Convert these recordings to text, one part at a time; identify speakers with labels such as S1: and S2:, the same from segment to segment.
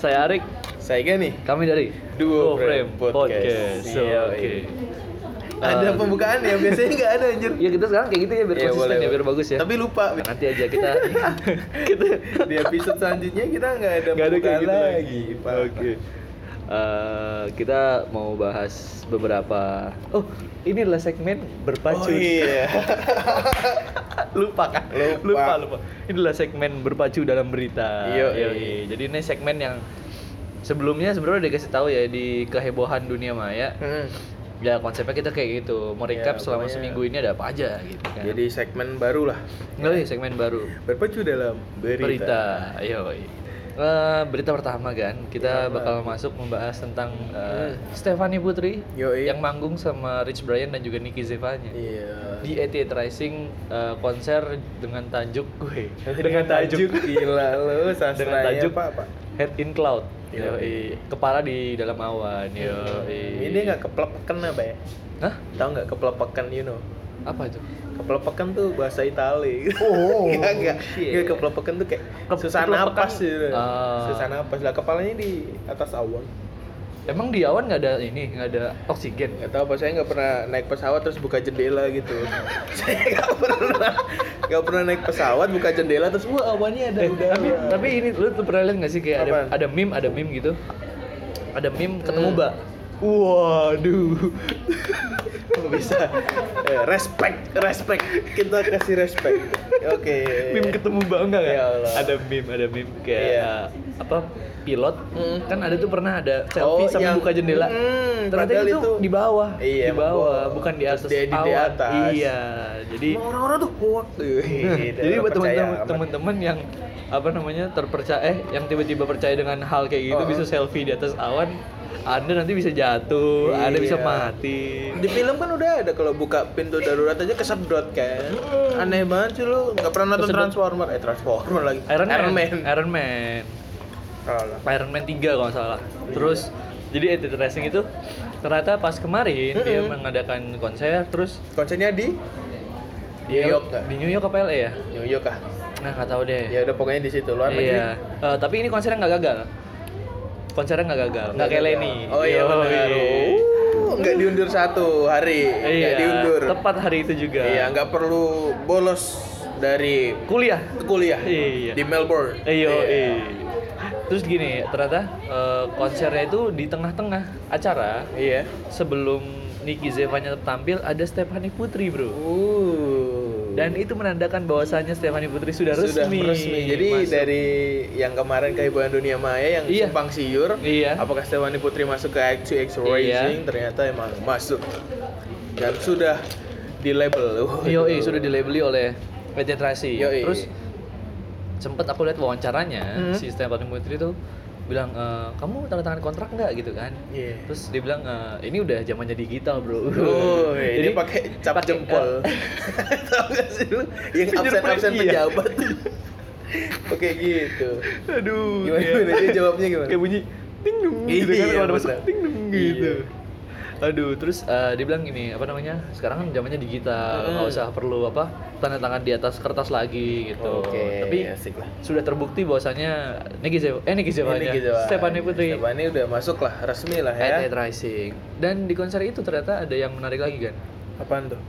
S1: Saya Arik,
S2: Saya Gani.
S1: kami dari
S2: Duo Frame Podcast.
S1: Podcast. So,
S2: Iya,
S1: Oke.
S2: iya.
S1: Ah.
S2: Ada pembukaan ya biasanya nggak ada anjir.
S1: Ya kita sekarang kayak gitu ya biar
S2: Iya,
S1: konsisten
S2: boleh,
S1: ya, biar
S2: boleh.
S1: bagus ya.
S2: Tapi lupa.
S1: nanti aja kita kita
S2: Di episode selanjutnya kita nggak ada
S1: nggak ada kayak
S2: pembukaan
S1: gitu lagi.
S2: Pak. Oh,
S1: Oke. Eh, kita mau bahas beberapa Oh, ini adalah segmen berpacu.
S2: Oh iya.
S1: lupa kan
S2: Lupa.
S1: lupa lupa. ini adalah segmen berpacu dalam berita
S2: Yoi.
S1: Yoi. jadi ini segmen yang sebelumnya sebenarnya udah dikasih tahu ya di kehebohan dunia maya
S2: Hmm.
S1: ya konsepnya kita kayak gitu mau recap
S2: Ya,
S1: selama
S2: pokoknya-
S1: seminggu ini ada apa aja gitu kan
S2: Jadi segmen baru lah.
S1: Yoi, segmen baru
S2: Berpacu dalam berita.
S1: berita, Yoi. Eh, berita pertama kan kita
S2: Pertama.
S1: bakal masuk membahas tentang eh,
S2: Hmm.
S1: Stephanie Putri
S2: Yoi.
S1: yang manggung sama Rich Brian dan juga Nicky Zevanya
S2: Iya.
S1: di 88 Rising eh, konser dengan tajuk gue
S2: gila lo sastranya
S1: dengan tajuk
S2: Pak, Pak.
S1: Head in Cloud
S2: Yoi.
S1: Yoi. kepala di dalam awan Yoi.
S2: Ini nggak keplepekan apa ya?
S1: Hah?
S2: Tahu nggak keplepekan you know?
S1: apa itu
S2: Keplepekan tuh bahasa Itali.
S1: Oh,
S2: Enggak, enggak.
S1: shit.
S2: Enggak keplepekan tuh kayak
S1: Ke-
S2: susah
S1: keplepekan.
S2: napas gitu.
S1: Ah.
S2: Susah napas lah kepalanya di atas awan.
S1: emang di awan nggak ada ini nggak ada oksigen
S2: Enggak tahu apa saya nggak pernah naik pesawat terus buka jendela gitu. saya nggak pernah nggak pernah naik pesawat buka jendela terus wah awannya ada
S1: Eh,
S2: udah.
S1: tapi tapi ini lu tuh pernah lihat nggak sih kayak ada
S2: Apaan?
S1: ada meme ada meme gitu ada meme ketemu
S2: Hmm.
S1: mbak waduh
S2: bisa. Eh, respect, respect. Kita kasih respect. Oke.
S1: meme ketemu mbak enggak kan
S2: Ya Allah.
S1: ada meme ada meme kayak
S2: Iya.
S1: uh, apa pilot
S2: Hmm.
S1: kan ada tuh pernah ada selfie
S2: Oh,
S1: sama
S2: yang-
S1: buka jendela
S2: Hmm,
S1: ternyata
S2: padahal
S1: itu,
S2: itu-
S1: di bawah
S2: Iya,
S1: di bawah
S2: bawah.
S1: bukan di
S2: Terus
S1: atas
S2: dia di- di
S1: awan.
S2: atas.
S1: iya jadi
S2: Emang orang-orang tuh kuat.
S1: jadi buat teman-teman teman-teman yang apa namanya terpercaya eh yang tiba-tiba percaya dengan hal kayak gitu
S2: Oh.
S1: bisa selfie di atas awan anda nanti bisa jatuh anda bisa
S2: Iya.
S1: mati
S2: Di film kan udah ada kalau buka pintu darurat aja kesedot kan. Aneh banget sih lu nggak pernah nonton
S1: Kesedot.
S2: Transformer. Eh Transformer lagi.
S1: Iron Man
S2: Iron Man.
S1: Iron Man,
S2: Alah.
S1: Iron Man 3 kalau nggak salah terus jadi Attitude Racing itu ternyata pas kemarin dia
S2: Mm-mm.
S1: mengadakan konser terus
S2: Konsernya di New York nggak?
S1: di New York apa LA ya
S2: New York ah.
S1: nah nggak tahu deh
S2: Ya udah pokoknya di situ luar
S1: Iya. Eh, tapi ini konsernya nggak gagal. Konsernya nggak gagal. Nggak kayak Lenny.
S2: Oh iya
S1: Yoi.
S2: benar. Oh, nggak diundur satu hari.
S1: Iya.
S2: Nggak diundur.
S1: Tepat hari itu juga.
S2: Iya, nggak perlu bolos dari
S1: Kuliah.
S2: kuliah
S1: Iya.
S2: di Melbourne.
S1: Iya. Terus gini, ternyata eh, konsernya itu di tengah-tengah acara
S2: Iya.
S1: sebelum Nicky Zevanya tampil ada Stephanie Putri, Bro.
S2: Uh.
S1: Dan itu menandakan bahwasannya Stephanie Putri sudah resmi.
S2: Sudah resmi. Jadi
S1: masuk.
S2: dari yang kemarin kehebohan dunia maya yang
S1: Iya.
S2: simpang siur,
S1: Iya.
S2: apakah Stephanie Putri masuk ke X2X Racing? Ternyata emang masuk dan sudah di label.
S1: Yoi, iya, sudah dilabeli oleh PT Trasi.
S2: Yoi.
S1: Terus sempet aku lihat wawancaranya
S2: iya. Hmm.
S1: si Stephanie Putri itu bilang e, kamu tanda tangan kontrak nggak gitu kan?
S2: Iya.
S1: Terus dia bilang e, ini udah zamannya digital bro.
S2: Oh, jadi pakai cap
S1: pakai, eh,
S2: jempol. Tahu nggak sih lu yang
S1: Fingerprint,
S2: absen absen
S1: iya.
S2: pejabat? Oke gitu.
S1: Aduh.
S2: Gimana
S1: iya.
S2: gimana dia jawabnya gimana?
S1: Kayak bunyi ting dung gitu
S2: Iya,
S1: kan kalau ada masuk
S2: benar.
S1: ting dung
S2: Iya.
S1: gitu. Aduh, terus eh, dia bilang gini, apa namanya? Sekarang kan zamannya digital, nggak
S2: Mm.
S1: usah perlu apa tanda tangan di atas kertas lagi gitu.
S2: Oke,
S1: Tapi
S2: asik lah.
S1: sudah terbukti bahwasannya Niki Zewa, eh Niki Zewanya,
S2: Ini gitu, Pak.
S1: Stephanie Putri,
S2: Stephanie udah masuk lah, resmi lah ya.
S1: At Rising. Dan di konser itu ternyata ada yang menarik lagi kan.
S2: Apaan tuh?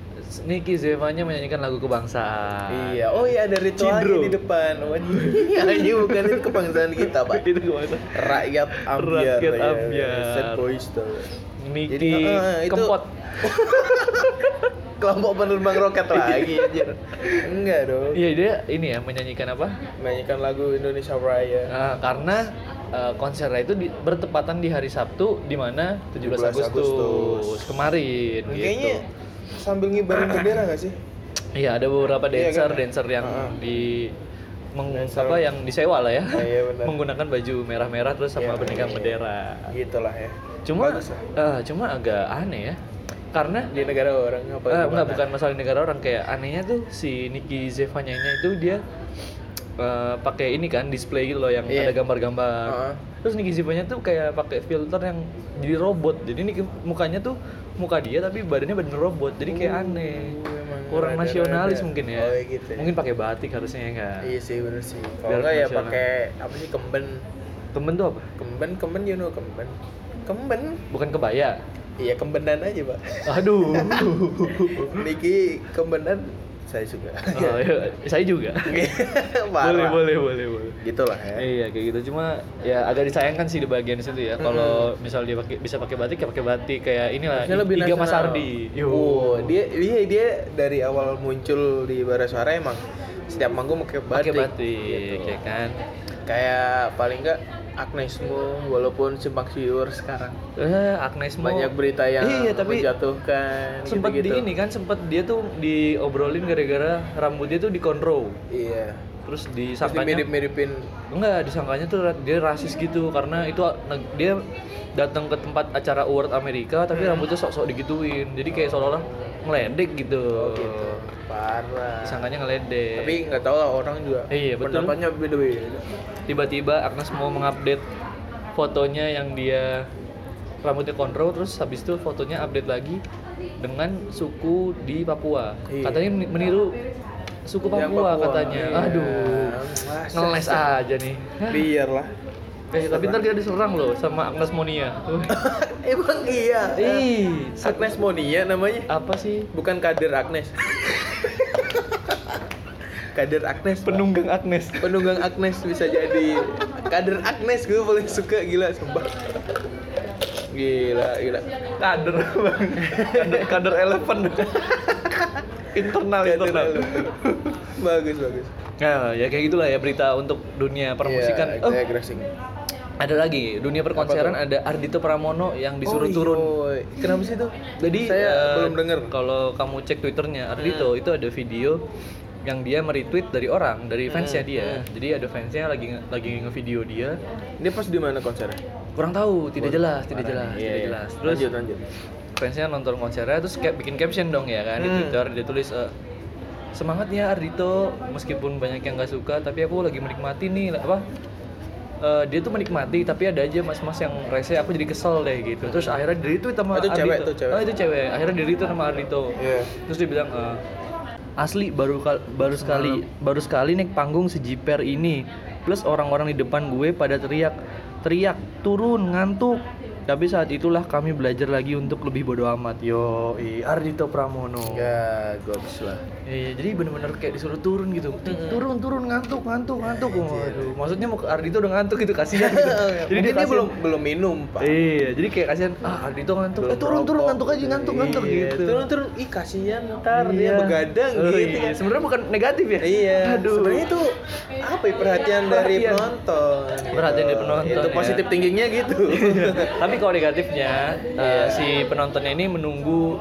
S1: Niki Zewanya menyanyikan lagu kebangsaan.
S2: Iya, oh iya ada
S1: Ah.
S2: ritualnya
S1: Cidro.
S2: di depan. Wajib. Ini bukan itu kebangsaan kita, Pak.
S1: itu kebangsaan.
S2: Rakyat ambiar.
S1: Rakyat
S2: ya.
S1: ambiar.
S2: Sad boys tuh. Jadi,
S1: Niki
S2: eh, itu-
S1: Kempot.
S2: Kelompok penerbang roket lagi anjir. Enggak dong.
S1: Iya dia ini ya menyanyikan apa?
S2: Menyanyikan lagu Indonesia Raya.
S1: Nah, karena eh, konsernya itu di- bertepatan di hari Sabtu di mana 17
S2: 17
S1: Agustus,
S2: Agustus.
S1: kemarin
S2: Kayaknya
S1: gitu.
S2: sambil ngibarin bendera gak sih?
S1: Iya, ada beberapa
S2: Iya,
S1: dancer
S2: kan?
S1: dancer yang
S2: Ah.
S1: di meng-
S2: Dancer.
S1: apa yang disewa lah ya.
S2: Ah, iya, benar.
S1: Menggunakan baju merah-merah terus sama
S2: Iya,
S1: bendera
S2: iya.
S1: bendera.
S2: Gitulah ya.
S1: Cuma
S2: Bagus lah.
S1: eh, cuma agak aneh ya. Karena
S2: di negara orang
S1: eh,
S2: apa? gimana?
S1: enggak bukan masalah negara orang kayak anehnya tuh si Niki Zevanya itu dia eh, pakai ini kan display gitu loh yang
S2: Iya. Ah.
S1: ada gambar-gambar.
S2: Heeh.
S1: Terus Niki Zevanya tuh kayak pakai filter yang jadi robot. Jadi Niki mukanya tuh muka dia tapi badannya bener robot. Jadi kayak
S2: Uh,
S1: aneh.
S2: emang
S1: Kurang
S2: rada-rada.
S1: nasionalis mungkin ya.
S2: Oh, iya gitu ya.
S1: Mungkin pakai batik harusnya ya enggak.
S2: Iya sih bener sih. Kalau
S1: Biar
S2: enggak ya
S1: nasional.
S2: pakai apa sih kemben?
S1: Kemben tuh apa?
S2: Kemben, kemben, you know kemben. Kemben.
S1: Bukan kebaya.
S2: Iya kembenan aja pak.
S1: Aduh.
S2: Niki kembenan saya suka.
S1: Oh, iya. Saya juga. boleh,
S2: Parah.
S1: boleh, boleh, boleh.
S2: Gitu lah ya.
S1: Iya kayak gitu cuma ya agak disayangkan sih di bagian situ ya. Kalau misal dia pakai bisa pakai batik ya pakai batik kayak inilah
S2: Harusnya lebih
S1: Iga
S2: nasional.
S1: Mas Ardi. Yo.
S2: Oh, dia dia dia dari awal muncul di Barasuara emang setiap manggung pakai batik.
S1: pakai batik
S2: gitu.
S1: ya kan.
S2: Kayak paling enggak Agnes Mo walaupun simpang siur sekarang
S1: Eh, Agnes Mo
S2: banyak berita yang
S1: Iya, tapi
S2: menjatuhkan
S1: sempat di
S2: gitu-gitu.
S1: ini kan sempat dia tuh diobrolin gara-gara rambutnya tuh dikontrol
S2: Iya.
S1: terus
S2: Terus
S1: disangkanya
S2: dimirip-miripin
S1: enggak disangkanya tuh dia rasis gitu karena itu neg- dia datang ke tempat acara award Amerika tapi
S2: Hmm.
S1: rambutnya sok-sok digituin jadi kayak seolah-olah ngeledek gitu,
S2: oh, gitu. Parah.
S1: disangkanya ngeledek
S2: Tapi nggak tahu lah orang juga.
S1: Iya, betul.
S2: Pendapatnya beda-beda.
S1: tiba-tiba Agnes mau mengupdate fotonya yang dia rambutnya kontrol terus habis itu fotonya update lagi dengan suku di Papua
S2: Iya.
S1: katanya meni- meniru suku Papua,
S2: Yang Papua,
S1: katanya
S2: iya.
S1: aduh
S2: Masa
S1: ngeles
S2: sih?
S1: aja nih
S2: Biarlah.
S1: eh, tapi ntar kita diserang loh sama Agnes Monia
S2: Emang iya.
S1: ih set-
S2: Agnes Monia namanya.
S1: apa sih
S2: Bukan kader Agnes. kader Agnes. Pak.
S1: penunggang Agnes
S2: Penunggang Agnes bisa jadi kader Agnes gue paling suka gila sumpah. Gila, gila.
S1: kader bang kader, kader eleven internal internal
S2: Kader- bagus, bagus.
S1: nah ya kayak gitulah ya berita untuk dunia permusikan
S2: Iya,
S1: Oh,
S2: saya grasing.
S1: Ada lagi, dunia perkonseran ada Ardito Pramono yang disuruh
S2: Oh,
S1: turun.
S2: yoi. Kenapa sih itu?
S1: Jadi
S2: saya
S1: eh,
S2: belum Hmm. dengar.
S1: Kalau kamu cek Twitternya Ardito itu ada video yang dia meretweet dari orang, dari
S2: Hmm,
S1: fansnya dia. Jadi ada fansnya lagi nge- lagi ngevideo dia.
S2: Ini pas di mana konsernya?
S1: Kurang tahu, tidak jelas, Ah, tidak jelas,
S2: Iya,
S1: tidak
S2: iya.
S1: jelas. Terus
S2: lanjut, lanjut.
S1: fansnya nonton konsernya terus kayak bikin caption dong ya kan di
S2: Hmm.
S1: Twitter dia tulis eh, semangat ya Ardito meskipun banyak yang nggak suka tapi aku lagi menikmati nih apa Eh, dia tuh menikmati tapi ada aja mas-mas yang rese aku jadi kesel deh gitu terus akhirnya diri itu sama
S2: Oh, itu cewek,
S1: Ardito
S2: itu cewek.
S1: Oh, itu cewek akhirnya diri itu sama Ardito
S2: Iya.
S1: terus dia bilang "Eh, asli baru kal- baru sekali baru sekali naik panggung sejiper ini plus orang-orang di depan gue pada teriak teriak turun ngantuk tapi saat itulah kami belajar lagi untuk lebih bodoh amat yo Ardito Pramono
S2: Ya, goks lah.
S1: Iya, jadi bener-bener kayak disuruh turun gitu. Turun, turun, ngantuk, ngantuk, ngantuk. Waduh, maksudnya mau ke Ardito udah ngantuk gitu, kasihan gitu.
S2: Jadi Eh, dia,
S1: kasihan.
S2: belum belum minum, Pak.
S1: Iya, jadi kayak kasihan, ah Ardito ngantuk.
S2: Belum
S1: eh turun, turun,
S2: rokok.
S1: ngantuk aja, ngantuk, ngantuk
S2: Iya,
S1: gitu.
S2: Turun turun, ih kasihan ntar dia
S1: Iya.
S2: begadang
S1: Oh,
S2: gitu.
S1: Iya. Sebenarnya bukan negatif ya?
S2: Iya.
S1: Aduh. Iya.
S2: Sebenarnya itu apa ya perhatian dari
S1: Perhatian.
S2: penonton.
S1: Perhatian dari penonton, Iya.
S2: Itu
S1: ya.
S2: positif thinkingnya gitu.
S1: Tapi kalau negatifnya, eh,
S2: Iya.
S1: si penontonnya ini menunggu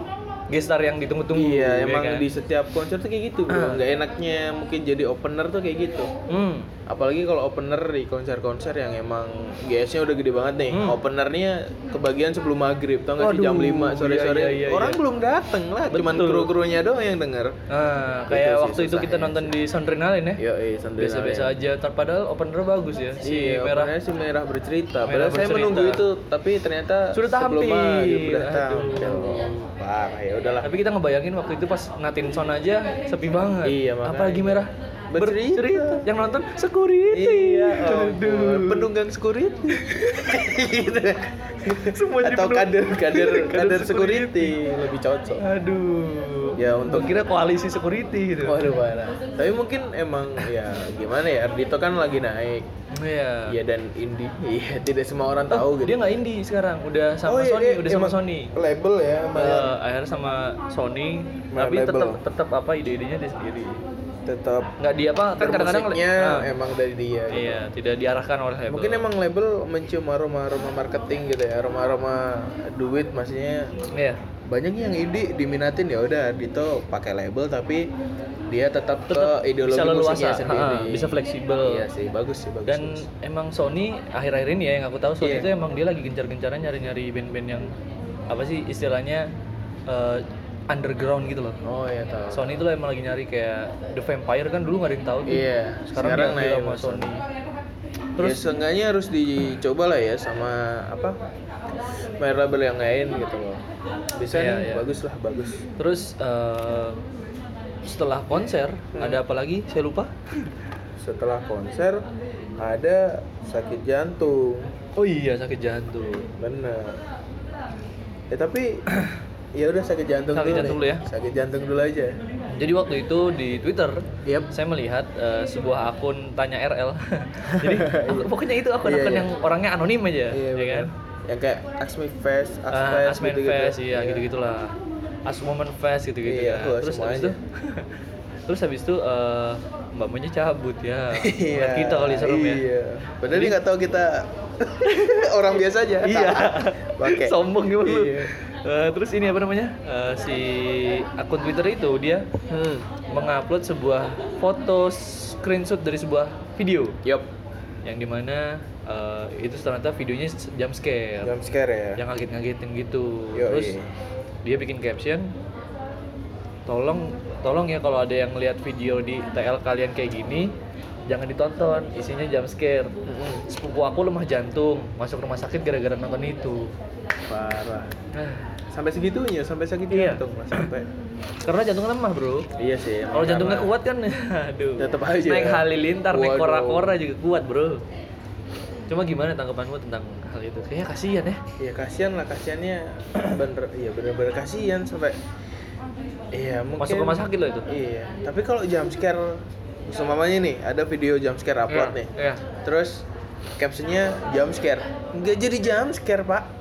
S1: gestar yang ditunggu-tunggu. ya
S2: Iya, emang
S1: kan? Ah.
S2: di setiap konser tuh kayak gitu, bro. Nggak enaknya mungkin jadi opener tuh kayak gitu.
S1: Hmm.
S2: Apalagi kalau opener di konser-konser yang emang GS-nya udah gede banget nih.
S1: Hmm.
S2: Openernya kebagian sebelum maghrib, tau nggak sih
S1: Waduh,
S2: jam 5 sore-sore.
S1: iya, iya, iya,
S2: Orang
S1: iya.
S2: belum dateng lah, cuman
S1: Betul.
S2: kru-krunya doang yang denger.
S1: Nah,
S2: Gitu
S1: kayak
S2: sih
S1: waktu itu kita
S2: susahnya
S1: nonton di Soundrenalin ya.
S2: Yo, iya, sambil
S1: Biasa-biasa aja, Ter- padahal opener bagus ya. Si
S2: iya,
S1: merah
S2: merah si merah bercerita.
S1: Merah
S2: Padahal saya
S1: bercerita.
S2: menunggu itu, tapi ternyata
S1: Sudah
S2: sebelum
S1: tampil.
S2: maghrib udah
S1: Aduh.
S2: tampil. Parah ya udahlah.
S1: Tapi kita ngebayangin waktu itu pas natin son aja sepi banget.
S2: Iya, makanya.
S1: Apalagi merah.
S2: Bercerita.
S1: Yang nonton security.
S2: Iya, ampun.
S1: Aduh.
S2: penunggang security. gitu.
S1: Semua jadi
S2: Atau
S1: penung-
S2: kader kader kader
S1: security.
S2: security lebih cocok.
S1: Aduh.
S2: Ya, untuk-
S1: Gua kira koalisi security gitu.
S2: Waduh parah. Tapi mungkin emang ya gimana ya Ardito kan lagi naik.
S1: Iya.
S2: Iya dan indie. Iya, tidak semua orang
S1: Oh,
S2: tahu gitu.
S1: Dia nggak indie sekarang, udah sama
S2: Oh, iya,
S1: Sony,
S2: iya,
S1: udah sama
S2: emang
S1: Sony.
S2: Label ya, bayar.
S1: Eh, akhirnya sama Sony,
S2: Main
S1: tapi
S2: label.
S1: tetap tetap apa ide-idenya dia sendiri.
S2: tetap
S1: Nggak dia apa kan kadang-kadang
S2: musiknya
S1: Ah,
S2: emang dari dia. gitu.
S1: iya, tidak diarahkan oleh label.
S2: Mungkin emang label mencium aroma-aroma marketing gitu ya, aroma-aroma duit maksudnya
S1: iya.
S2: banyak yang ide diminatin ya udah Dito pakai label tapi dia tetap,
S1: Tetap
S2: ke ideologi
S1: bisa leluasa,
S2: musiknya sendiri.
S1: ha, bisa fleksibel.
S2: Iya sih, bagus sih, bagus.
S1: Dan
S2: bagus.
S1: emang Sony akhir-akhir ini ya yang aku tahu Sony
S2: Iya.
S1: itu emang dia lagi gencar-gencaran nyari-nyari band-band yang apa sih istilahnya eh, underground gitu loh.
S2: oh ya tahu.
S1: Sony itu lah emang lagi nyari kayak The Vampire kan dulu nggak ada yang tahu tuh.
S2: Iya,
S1: Sekarang,
S2: sekarang
S1: diambil
S2: naik
S1: sama
S2: sama
S1: Sony.
S2: Terus ya, seenggaknya harus dicoba lah ya sama apa? Main label yang lain gitu loh. Bisa
S1: Iya,
S2: nih,
S1: iya.
S2: bagus lah, bagus.
S1: Terus eh,
S2: Hmm.
S1: setelah konser ada apa lagi? Saya lupa.
S2: Setelah konser ada sakit jantung
S1: Oh iya sakit jantung.
S2: bener ya tapi ya udah sakit jantung
S1: Sakit
S2: dulu
S1: jantung
S2: deh.
S1: dulu ya.
S2: sakit jantung dulu aja
S1: Jadi waktu itu di Twitter
S2: Yep.
S1: saya melihat eh, sebuah akun tanya RL. Jadi aku- pokoknya itu akun-akun
S2: Iya, iya.
S1: yang orangnya anonim aja, ya kan?
S2: bener. yang kayak ask me first ask
S1: Ah,
S2: first
S1: Asmen
S2: gitu-gitu.
S1: Fest, iya gitu-gitulah. As Woman Fest gitu-gitu
S2: Iya,
S1: kan.
S2: aku
S1: Terus
S2: semua
S1: habis
S2: aja.
S1: itu Terus habis itu eh, Mbak Munya cabut ya. Ngeliat
S2: iya
S1: kita kali serem ya.
S2: iya padahal
S1: Jadi-
S2: dia nggak tahu kita orang biasa aja
S1: Iya.
S2: pakai
S1: Sombong gimana lu?
S2: Iya.
S1: Eh, terus ini apa namanya? Eh, si akun Twitter itu dia
S2: hmm.
S1: mengupload sebuah foto screenshot dari sebuah video
S2: yup
S1: yang dimana eh, itu ternyata videonya jump scare
S2: jump scare ya
S1: yang ngaget-ngagetin gitu
S2: Yoi.
S1: terus dia bikin caption tolong tolong ya kalau ada yang lihat video di TL kalian kayak gini jangan ditonton isinya jump scare sepupu aku lemah jantung masuk rumah sakit gara-gara nonton itu
S2: parah
S1: Nah,
S2: sampai segitunya sampai sakit
S1: Iya.
S2: jantung mas sampai
S1: karena jantung lemah bro
S2: iya sih
S1: kalau jantungnya kuat kan aduh
S2: Tetep aja.
S1: naik halilintar naik
S2: Waduh.
S1: kora-kora juga kuat bro cuma gimana tanggapanmu tentang hal itu kayaknya kasihan ya
S2: ya kasihan lah kasihannya bener iya bener-bener kasihan sampai iya mungkin
S1: masuk rumah sakit loh itu
S2: iya tapi kalau jump scare seumpamanya nih ada video jump scare upload
S1: Iya,
S2: nih
S1: iya.
S2: terus captionnya jump scare nggak jadi jump scare pak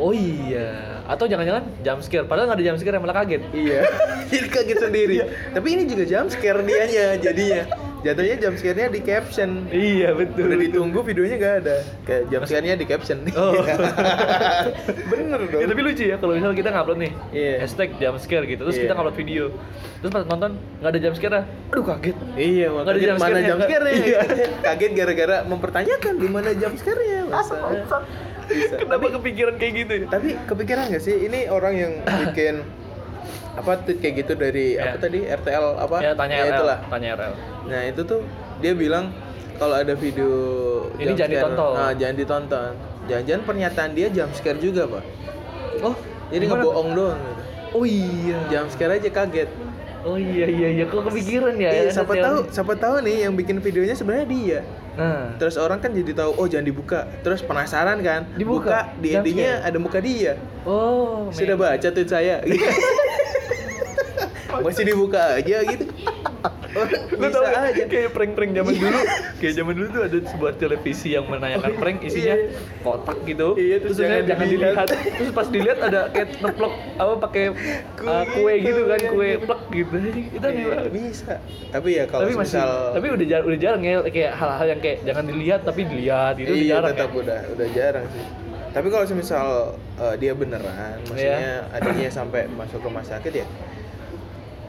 S1: Oh iya, atau jangan-jangan jump scare. Padahal nggak ada jump scare yang malah kaget.
S2: iya jadi kaget sendiri
S1: Iya.
S2: tapi ini juga jump scare dianya jadinya jatuhnya jump scare-nya di caption
S1: Iya betul.
S2: udah ditunggu videonya nggak ada kayak jump scare-nya di caption Iya.
S1: Oh.
S2: bener dong
S1: Ya, tapi lucu ya kalau misalnya kita ngupload nih
S2: Iya.
S1: hashtag jump scare gitu terus
S2: Iya.
S1: kita ngupload video terus pas nonton nggak ada jump scare aduh kaget
S2: Iya,
S1: Nggak
S2: makanya
S1: ada jump
S2: mana
S1: scare-nya,
S2: jump
S1: nggak?
S2: scare ya?
S1: Iya.
S2: Kaget gara-gara mempertanyakan di mana jump scare-nya. Masa? Bisa.
S1: kenapa kepikiran kayak gitu ya
S2: Tapi kepikiran nggak sih ini orang yang bikin apa tweet kayak gitu dari
S1: Ya.
S2: apa tadi RTL apa?
S1: ya tanya RL
S2: itulah.
S1: tanya RL
S2: Nah, itu tuh dia bilang kalau ada video
S1: Ini
S2: jump
S1: jangan
S2: scare,
S1: ditonton.
S2: Nah, jangan ditonton. Jangan-jangan pernyataan dia jump scare juga, Pak.
S1: oh
S2: Jadi
S1: gimana?
S2: ngebohong doang gitu.
S1: oh iya
S2: Jump scare aja kaget.
S1: oh iya iya iya kok kepikiran ya
S2: Iya,
S1: RTL?
S2: siapa tahu, siapa tahu nih yang bikin videonya sebenarnya dia.
S1: nah
S2: Terus orang kan jadi tahu, oh jangan dibuka. Terus penasaran kan?
S1: Dibuka?
S2: Buka, di
S1: Jam
S2: endingnya
S1: sekian.
S2: ada muka dia.
S1: oh
S2: Sudah
S1: men-
S2: baca tweet saya. Masih dibuka aja gitu. Oh,
S1: Lu
S2: bisa
S1: tau nggak?
S2: aja. Iya.
S1: kayak prank-prank zaman dulu Kayak zaman dulu tuh ada sebuah televisi yang menayangkan prank Isinya
S2: Iya.
S1: kotak gitu
S2: Iya,
S1: Terus
S2: terus
S1: jangan,
S2: jangan
S1: jangan dilihat
S2: dilihat.
S1: Terus pas dilihat ada kayak neplok Apa pakai
S2: Kue
S1: uh, kue
S2: gitu,
S1: gitu kan
S2: iya,
S1: Kue
S2: gitu.
S1: plek gitu Itu aneh
S2: Iya,
S1: banget
S2: bisa. Tapi ya kalau
S1: tapi masih,
S2: misal
S1: tapi udah jarang, udah jarang ya kayak hal-hal yang kayak jangan dilihat tapi dilihat gitu udah
S2: iya,
S1: jarang
S2: tetap
S1: ya.
S2: udah udah jarang sih. Tapi kalau semisal eh, dia beneran, maksudnya
S1: Iya.
S2: adiknya sampai masuk rumah sakit ya,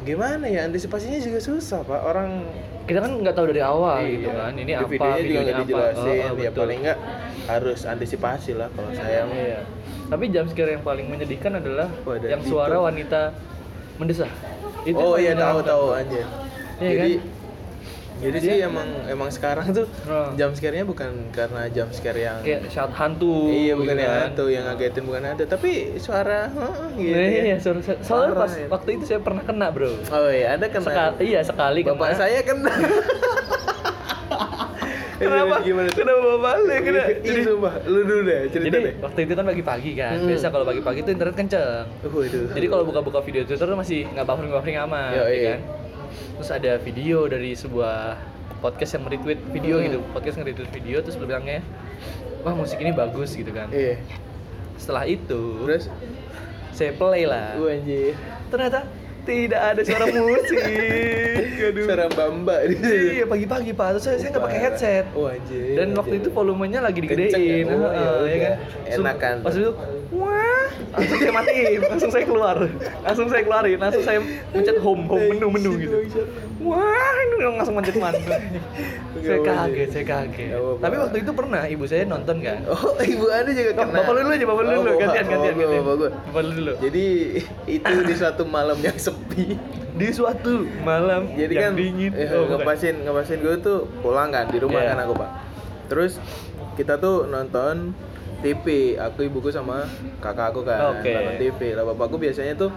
S2: gimana ya antisipasinya juga susah pak. Orang
S1: Kita kan nggak tahu dari awal gitu
S2: Iya.
S1: kan, ini
S2: Di
S1: apa,
S2: videonya juga nggak
S1: apa.
S2: dijelasin
S1: Oh, oh,
S2: ya
S1: betul.
S2: paling nggak harus antisipasi lah kalau saya
S1: Iya. Tapi jam scare yang paling menyedihkan adalah
S2: Wah, ada
S1: yang
S2: di
S1: suara
S2: itu.
S1: wanita mendesah. Itu
S2: oh
S1: yang
S2: iya
S1: paling
S2: tahu
S1: menyeramkan.
S2: tahu aja
S1: Iya
S2: jadi
S1: kan? Iya.
S2: jadi sih emang emang sekarang tuh
S1: Oh.
S2: jump scare-nya bukan karena jump scare yang
S1: Kayak shot hantu.
S2: iya bukan
S1: gitu
S2: yang
S1: kan.
S2: hantu yang ngagetin bukan hantu tapi suara "Heeh," gitu
S1: Iya,
S2: ya.
S1: iya, suara, suara- soalnya
S2: Parah
S1: pas
S2: ya.
S1: waktu itu saya pernah kena, Bro.
S2: oh iya ada kena
S1: Sekali, iya sekali
S2: bapak
S1: kena.
S2: saya kena Eh, jadi
S1: Kenapa?
S2: gimana tuh?
S1: Kenapa bapak saya kena?
S2: Ih, sumpah, lu dulu deh cerita
S1: Jadi
S2: deh
S1: Iya, waktu itu kan pagi-pagi kan.
S2: Hmm.
S1: Biasa kalau pagi-pagi itu internet kenceng.
S2: Waduh.
S1: Jadi kalau buka-buka video Twitter tuh masih nggak buffering-buffering aman,
S2: Yo,
S1: ya
S2: iya.
S1: kan? Terus ada video dari sebuah podcast yang retweet video
S2: Hmm.
S1: gitu, podcast nge-retweet video terus bilangnya, wah musik ini bagus gitu kan.
S2: iya
S1: Setelah itu,
S2: terus
S1: saya play lah.
S2: gue anjir
S1: Ternyata tidak ada suara musik. Aduh.
S2: suara mbak-mbak di situ.
S1: Iya pagi-pagi pak, terus saya saya nggak pakai headset.
S2: Oh anjir.
S1: Dan waktu
S2: anjir.
S1: itu volumenya lagi
S2: Kenceng ya?
S1: digedein,
S2: Oh,
S1: heeh,
S2: ya
S1: ya kan?
S2: udah.
S1: Terus
S2: Enak kan?
S1: Pas itu, wah, langsung saya matiin, langsung saya keluar, langsung saya keluarin, langsung saya pencet home, home menu menu gitu. Wah, ini orang langsung pencet menu. saya
S2: apa-apa,
S1: kaget,
S2: Ji.
S1: saya kaget.
S2: Nggak apa-apa.
S1: Tapi waktu itu pernah ibu saya nonton kan?
S2: Oh, ibu Anda juga
S1: Nggak,
S2: kena.
S1: Bapak lu dulu aja, bapak lu
S2: Oh,
S1: dulu,
S2: bapak-
S1: gantian,
S2: oh,
S1: gantian,
S2: gua,
S1: gantian.
S2: bapak gua.
S1: Bapak lu dulu.
S2: Jadi itu di suatu malam yang sepi.
S1: Di suatu malam
S2: Jadi
S1: yang
S2: kan
S1: dingin,
S2: eh,
S1: Oh, bukan.
S2: ngepasin ngepasin gue tuh pulang kan di rumah
S1: Iya.
S2: kan aku, Pak. Terus kita tuh nonton TV, aku ibuku sama kakak aku kan
S1: Oke.
S2: nonton TV. Lah bapakku biasanya tuh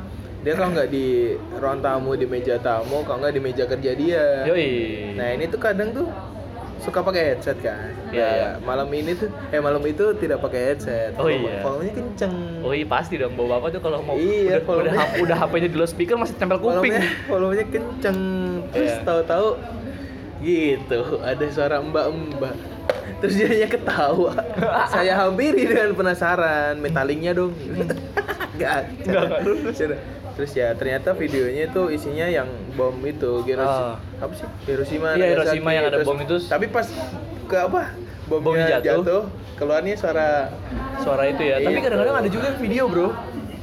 S2: dia kalau nggak di ya. ruang tamu, di meja tamu, kalau nggak di meja kerja dia.
S1: Yoi.
S2: Nah ini tuh Nah, kadang tuh suka pakai headset kan.
S1: Iya,
S2: Nah,
S1: iya.
S2: Malam ini tuh eh malam itu tidak pakai headset.
S1: Oh,
S2: Follow-
S1: iya.
S2: follow-nya kenceng.
S1: Oh iya pasti dong bawa bapak tuh kalau mau udah udah,
S2: Iya, follow-nya.
S1: hap- udah HP-nya di loudspeaker masih tempel kuping.
S2: Volumenya, volumenya kenceng. Terus
S1: Iya.
S2: tahu-tahu gitu ada suara mbak-mbak. Terus dia ketawa. Saya hampiri dengan penasaran, metalingnya dong. Enggak.
S1: Nggak, nggak lulus.
S2: Terus ya ternyata videonya itu isinya yang bom itu
S1: Ah.
S2: Hiroshima. Apa sih? Hiroshima.
S1: Iya, Hiroshima
S2: Nagasaki.
S1: yang ada
S2: Terus-
S1: bom itu.
S2: Tapi pas ke apa? Bomnya,
S1: Bomnya
S2: jatuh.
S1: jatuh.
S2: keluarnya suara
S1: Suara itu ya. Tapi
S2: Iya.
S1: kadang-kadang ada juga yang video, Bro.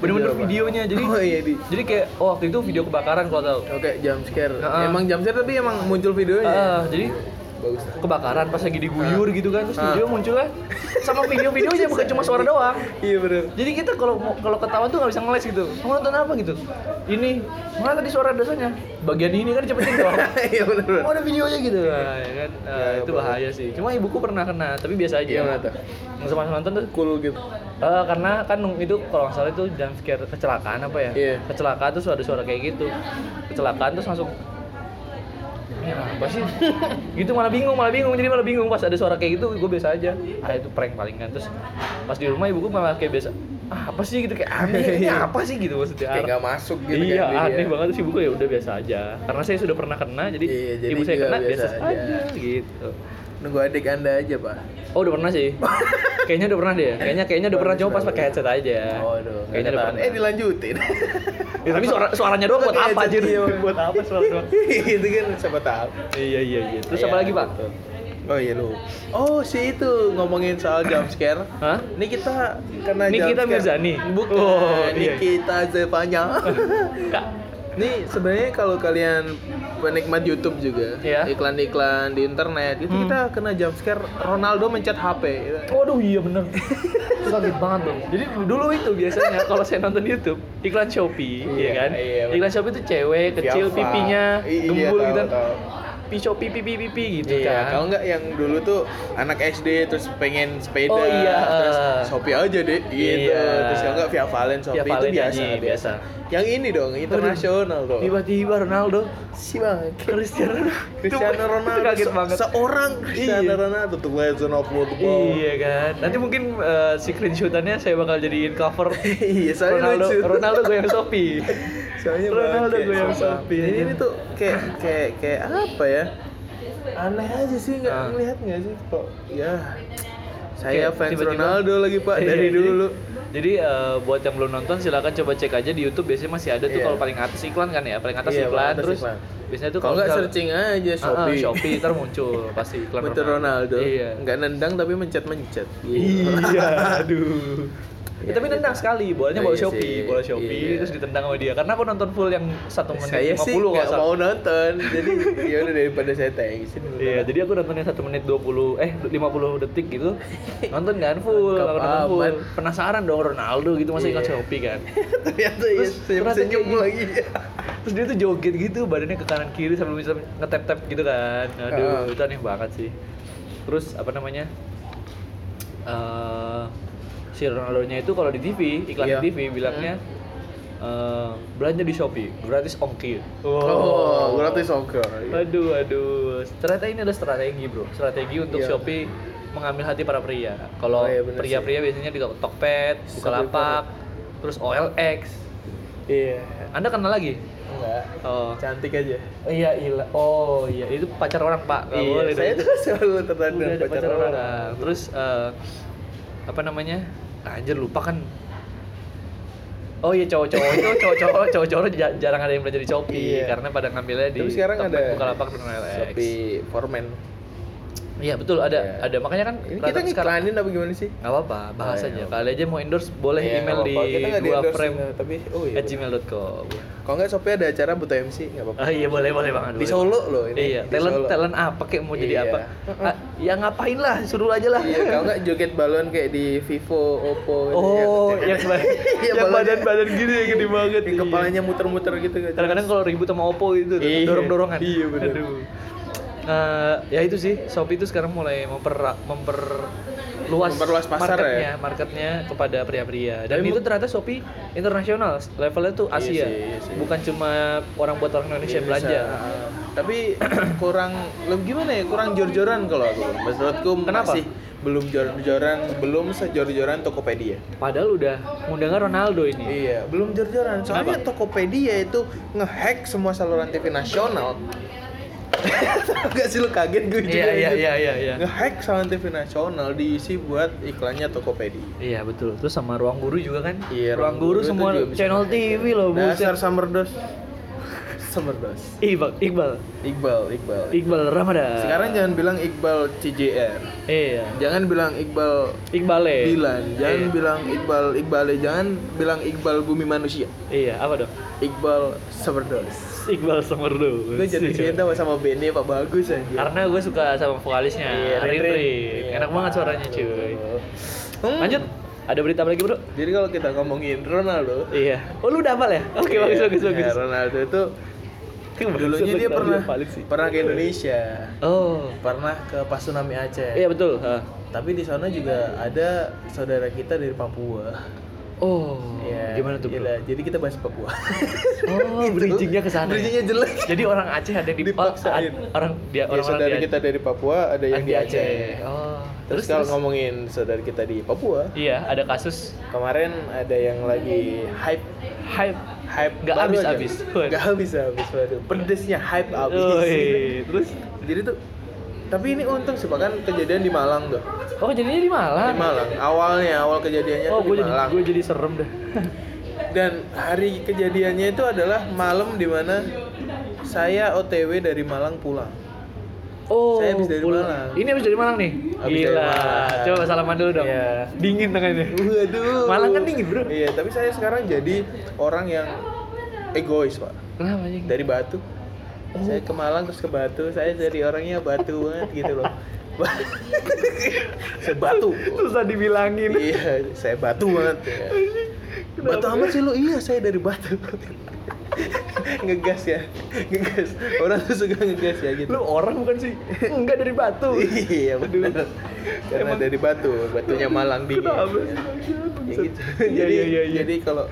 S1: Bener-bener
S2: Video apa?
S1: videonya. Jadi
S2: Oh, iya, di. Oh,
S1: Jadi kayak oh, waktu itu video kebakaran kalau tahu.
S2: Oke, jump scare.
S1: Ah.
S2: Emang jump scare tapi emang muncul videonya.
S1: Ah, jadi
S2: Bagus.
S1: kebakaran pas lagi diguyur gitu kan terus
S2: iya. Ah.
S1: video munculnya sama video-videonya bukan cuma suara doang.
S2: Iya bener.
S1: Jadi kita kalau mau- kalau ketawa tuh nggak bisa ngeles gitu. Kamu nonton apa gitu? Ini mana tadi suara dasarnya? Bagian ini kan cepetin dong.
S2: Iya bener.
S1: Mau ada videonya gitu nah, ya kan? Nah,
S2: Ya,
S1: itu
S2: apa?
S1: bahaya sih. Cuma ibuku pernah kena, tapi biasa aja.
S2: Gimana tuh?
S1: Nggak sama nonton tuh.
S2: Cool gitu.
S1: Eh, karena kan nung- itu kalau nggak salah itu jump scare kecelakaan apa ya?
S2: Iya.
S1: Kecelakaan terus ada suara kayak gitu. Kecelakaan terus langsung ini apa sih? gitu malah bingung, malah bingung. Jadi malah bingung pas ada suara kayak gitu, gue biasa aja. Ah itu prank paling kan. Terus pas di rumah ibuku malah kayak biasa. Ah, apa sih gitu kayak aneh, ini apa sih gitu maksudnya.
S2: Iya. Kayak nggak masuk gitu kan
S1: iya,
S2: dia.
S1: aneh banget sih buku ya udah biasa aja. Karena saya sudah pernah kena, jadi
S2: Iya, jadi
S1: ibu saya
S2: juga
S1: kena
S2: biasa
S1: biasa,
S2: aja.
S1: aja. gitu.
S2: Nunggu adik anda aja pak.
S1: Oh udah pernah sih. kayaknya udah pernah deh. ya? Kayaknya kayaknya udah pernah coba pas pakai headset aja. Iya.
S2: Waduh.
S1: Kayaknya udah
S2: Kenyataan.
S1: pernah.
S2: Eh dilanjutin.
S1: Ya, tapi suara, suaranya doang buat
S2: Pakai
S1: apa
S2: headset,
S1: anjir?
S2: iya, Bang.
S1: buat apa suara?
S2: Itu kan siapa tahu.
S1: Iya iya iya. Terus apa
S2: Iya,
S1: lagi, Pak?
S2: betul. Oh iya lu. Oh si itu ngomongin soal jump scare.
S1: Hah?
S2: Ini kita kena
S1: Nikita
S2: jump scare.
S1: Mirzani?
S2: Bukan.
S1: Oh, iya.
S2: Nikita Zepanya.
S1: Enggak.
S2: Nih sebenarnya kalau kalian penikmat YouTube juga,
S1: Iya.
S2: iklan-iklan di internet, itu
S1: Hmm.
S2: kita kena jump scare Ronaldo mencet HP.
S1: Waduh iya bener Itu Sakit banget dong Jadi dulu itu biasanya kalau saya nonton Youtube Iklan Shopee
S2: Iya,
S1: ya kan
S2: iya, bener.
S1: Iklan Shopee itu cewek kecil
S2: Fiafa.
S1: pipinya
S2: I- iya,
S1: Gembul
S2: tahu,
S1: gitu kan
S2: tahu.
S1: Pi Shopee pipi pipi gitu
S2: Iya,
S1: kan
S2: kalau nggak yang dulu tuh anak SD terus pengen sepeda,
S1: Oh, iya.
S2: terus Shopee aja deh, gitu.
S1: Iya.
S2: Terus kalau nggak via Valen Shopee
S1: Via Valen
S2: itu biasa,
S1: aja,
S2: biasa.
S1: biasa. Iya.
S2: Yang ini dong, internasional dong.
S1: Tiba-tiba Ronaldo
S2: Si banget.
S1: Cristiano Ronaldo
S2: Cristiano Ronaldo,
S1: Itu kaget
S2: se-
S1: banget
S2: seorang Cristiano
S1: Iya.
S2: Ronaldo, the legend of football.
S1: Iya kan. Nanti mungkin eh, si screenshotannya saya bakal jadiin cover.
S2: Iya, soalnya
S1: Ronaldo,
S2: lucu.
S1: Ronaldo gue yang Shopee.
S2: soalnya
S1: Ronaldo
S2: bangke,
S1: gue yang
S2: sumpah.
S1: Shopee,
S2: Jadi
S1: anjir.
S2: ini tuh kayak kayak kayak apa ya aneh aja sih nggak
S1: Ah.
S2: ngelihat nggak sih kok ya saya
S1: Kayak
S2: fans
S1: tiba-tiba-
S2: Ronaldo lagi pak
S1: Iya,
S2: dari
S1: jadi-
S2: dulu
S1: Jadi eh, buat yang belum nonton silakan coba cek aja di YouTube biasanya masih ada tuh
S2: Iya.
S1: kalau paling atas iklan kan ya, paling atas
S2: Iya,
S1: iklan
S2: paling atas
S1: terus
S2: iklan.
S1: biasanya tuh
S2: kalau nggak
S1: misal-
S2: searching
S1: Ah,
S2: aja
S1: ah,
S2: Shopee
S1: Shopee ntar muncul pasti iklan
S2: Muncul Ronaldo
S1: Iya.
S2: nggak nendang tapi mencet mencet
S1: Iya, aduh. Ya,
S2: Iya,
S1: tapi
S2: gitu.
S1: nendang sekali, bolanya bola
S2: Iya sih.
S1: Shopee, bola Shopee
S2: Iya.
S1: terus ditendang sama dia. Karena aku nonton full yang 1 menit
S2: saya
S1: 50
S2: sih
S1: kalau
S2: nggak
S1: salah.
S2: mau nonton jadi ya udah daripada saya tengisin
S1: Iya, jadi aku nontonnya 1 menit 20 eh 50 detik gitu. Nonton kan full,
S2: Lengkap
S1: aku nonton full.
S2: amat.
S1: Penasaran dong Ronaldo gitu masa
S2: Iya.
S1: iklan Shopee kan.
S2: ternyata ya
S1: Terus-
S2: senyum
S1: ternyata
S2: senyum
S1: iya.
S2: lagi
S1: Terus dia tuh joget gitu, badannya ke kanan kiri sambil bisa ngetep-tep gitu kan. Aduh,
S2: Ah.
S1: itu aneh banget sih. Terus apa namanya? Eh si Ronaldo-nya itu kalau di TV, iklan
S2: Iya.
S1: di TV bilangnya eh, belanja di Shopee, gratis ongkir.
S2: oh gratis soccer
S1: Aduh, aduh. Strategi ini ada strategi, bro. Strategi untuk
S2: Iya.
S1: Shopee mengambil hati para pria. Kalau
S2: Oh, iya, bener
S1: pria-pria biasanya di Tok- Tokped,
S2: Shopee
S1: Bukalapak, terus OLX.
S2: iya
S1: Anda kenal lagi?
S2: enggak
S1: Oh.
S2: cantik aja
S1: Iya, iya. Oh, iya. Itu pacar orang, Pak. Nggak
S2: iya,
S1: boleh
S2: saya
S1: dong.
S2: tuh selalu tertarik
S1: Udah
S2: dengan
S1: ada
S2: pacar, orang.
S1: Terus eh, apa namanya? Ah, Anjir lupa kan. Oh iya cowok-cowok itu cowok-cowok cowok-cowok ja- jarang ada yang belajar di Shopee
S2: Iya.
S1: karena pada ngambilnya di
S2: Tapi sekarang
S1: Tokped,
S2: ada
S1: Bukalapak dan OLX.
S2: Shopee Foreman.
S1: Iya betul ada
S2: Iya.
S1: ada makanya kan
S2: Ini kita
S1: rata-rata sekarang
S2: ngiklanin apa gimana sih?
S1: nggak apa-apa bahas
S2: Oh, iya,
S1: aja
S2: nggak
S1: kali aja mau endorse boleh
S2: Iya,
S1: email
S2: nggak
S1: di
S2: apa-apa. Kita nggak
S1: dua
S2: di-endorse,
S1: frame
S2: nah, tapi oh iya.
S1: at gmail.com
S2: Kalau nggak Shopee ada acara buta MC nggak apa-apa.
S1: oh iya boleh boleh banget
S2: Di
S1: boleh.
S2: Solo loh ini.
S1: iya
S2: di
S1: talent
S2: Solo.
S1: talent apa kayak mau jadi
S2: Iya.
S1: apa Ah, ya ngapain lah suruh aja lah
S2: Iya, kalau nggak joget balon kayak di Vivo, Oppo. gitu
S1: oh
S2: ya.
S1: yang ba-
S2: Iya,
S1: yang
S2: balonnya.
S1: badan badan gini yang gede banget
S2: Yang
S1: iya.
S2: kepalanya muter-muter gitu nggak
S1: kadang-kadang
S2: jelas.
S1: kalau ribut sama Oppo itu
S2: Iya.
S1: dorong dorongan
S2: Iya, bener.
S1: Aduh. Eh, ya itu sih Shopee itu sekarang mulai memper memperluas luas
S2: Memperluas pasar
S1: marketnya,
S2: ya?
S1: marketnya kepada pria-pria. Dan
S2: Tapi
S1: itu
S2: mungkin-
S1: ternyata Shopee internasional, levelnya tuh
S2: Iya
S1: Asia.
S2: sih, iya sih. Iya,
S1: Bukan cuma orang buat orang Indonesia yang belanja.
S2: Heeh. tapi kurang lebih gimana ya kurang jor-joran kalau aku menurutku
S1: Kenapa?
S2: masih belum jor-joran belum sejor-joran Tokopedia
S1: Padahal udah ngundangnya Ronaldo ini.
S2: iya belum jor-joran soalnya
S1: Kenapa?
S2: Tokopedia itu ngehack semua saluran TV nasional Gak sih lu kaget gue
S1: Iya
S2: juga
S1: iya
S2: gitu.
S1: iya iya iya.
S2: ngehack saluran TV nasional diisi buat iklannya Tokopedia
S1: Iya betul. Terus sama ruang guru juga kan?
S2: Iya,
S1: ruang,
S2: Ruang
S1: guru,
S2: Guru
S1: semua
S2: tuh juga bisa
S1: channel
S2: ngehack.
S1: TV loh,
S2: dasar
S1: Oh, buset.
S2: Summerdos Summerdos
S1: Iqbal, Iqbal,
S2: Iqbal Iqbal
S1: Iqbal Ramadan.
S2: sekarang jangan bilang Iqbal CJR
S1: Iya.
S2: jangan bilang Iqbal
S1: Iqbale.
S2: Dilan, jangan
S1: Iya.
S2: bilang Iqbal Iqbale, jangan bilang Iqbal Bumi Manusia,
S1: Iya, apa dong?
S2: Iqbal Seberdos.
S1: Iqbal Somerdu.
S2: Gue jadi
S1: Iya.
S2: cinta sama bandnya Pak Bagus aja.
S1: Karena gue suka sama vokalisnya,
S2: Iya,
S1: Rin
S2: Rin.
S1: Rin.
S2: Iya.
S1: Enak banget suaranya cuy.
S2: Hmm.
S1: Lanjut, ada berita apa lagi bro?
S2: Jadi kalau kita ngomongin Ronaldo,
S1: Iya. Oh lu udah hafal ya? Oke bagus
S2: iya,
S1: bagus bagus.
S2: iya, Ronaldo itu
S1: Tuh, bagus,
S2: dulunya
S1: bagus,
S2: dia
S1: bagus,
S2: pernah
S1: hafalin sih. Iya.
S2: pernah ke Indonesia,
S1: Oh.
S2: pernah ke Pasunami Aceh.
S1: Iya betul. ha.
S2: Tapi di sana juga ada saudara kita dari Papua.
S1: Oh.
S2: Iya,
S1: Gimana tuh bro?
S2: gila. Jadi kita bahas Papua.
S1: Oh bridgingnya ke sana. ya?
S2: Bridgingnya jelek.
S1: Jadi orang Aceh ada di
S2: Dipaksain.
S1: oh, ada- orang dia
S2: Ya,
S1: orang orang
S2: saudara kita dari Papua ada yang di Aceh.
S1: Oh.
S2: Terus, kalau ngomongin saudara kita di Papua,
S1: Iya ada kasus
S2: kemarin ada yang lagi hype
S1: hype.
S2: hype
S1: Nggak
S2: baru aja.
S1: habis-habis. Waduh.
S2: Nggak habis habis waduh. Pedesnya hype habis.
S1: Woi, Terus
S2: Jadi tuh tapi ini untung sih Pak, kan kejadian di Malang tuh.
S1: oh jadinya di
S2: Di
S1: Malang.
S2: Malang. Awalnya awal kejadiannya
S1: Oh
S2: tuh
S1: gue
S2: di
S1: jadi
S2: Malang.
S1: gue jadi serem dah.
S2: Dan hari kejadiannya itu adalah malam di mana saya OTW dari Malang pulang.
S1: Oh,
S2: Saya habis dari
S1: pulang.
S2: Malang.
S1: Ini habis dari Malang nih?
S2: Habis
S1: Gila.
S2: dari Malang.
S1: Coba salaman dulu dong.
S2: Iya.
S1: Dingin tangannya.
S2: Waduh.
S1: Malang kan dingin, Bro.
S2: Iya, tapi saya sekarang jadi orang yang egois, Pak.
S1: Kenapa anjing?
S2: Dari Batu.
S1: Oh.
S2: Saya ke Malang terus ke Batu. Saya jadi orangnya Batu banget gitu loh. saya Batu.
S1: Susah dibilangin.
S2: Iya, saya Batu banget. ya. Batu amat sih lu. Iya, saya dari Batu. ngegas ya. Ngegas. Orang tuh suka ngegas ya gitu.
S1: Lu orang bukan sih? Enggak dari Batu.
S2: iya, benar. Karena
S1: Emang-
S2: dari Batu, batunya Malang dingin.
S1: Kenapa sih?
S2: Ya gitu.
S1: Iya,
S2: jadi
S1: iya, iya, iya.
S2: jadi kalau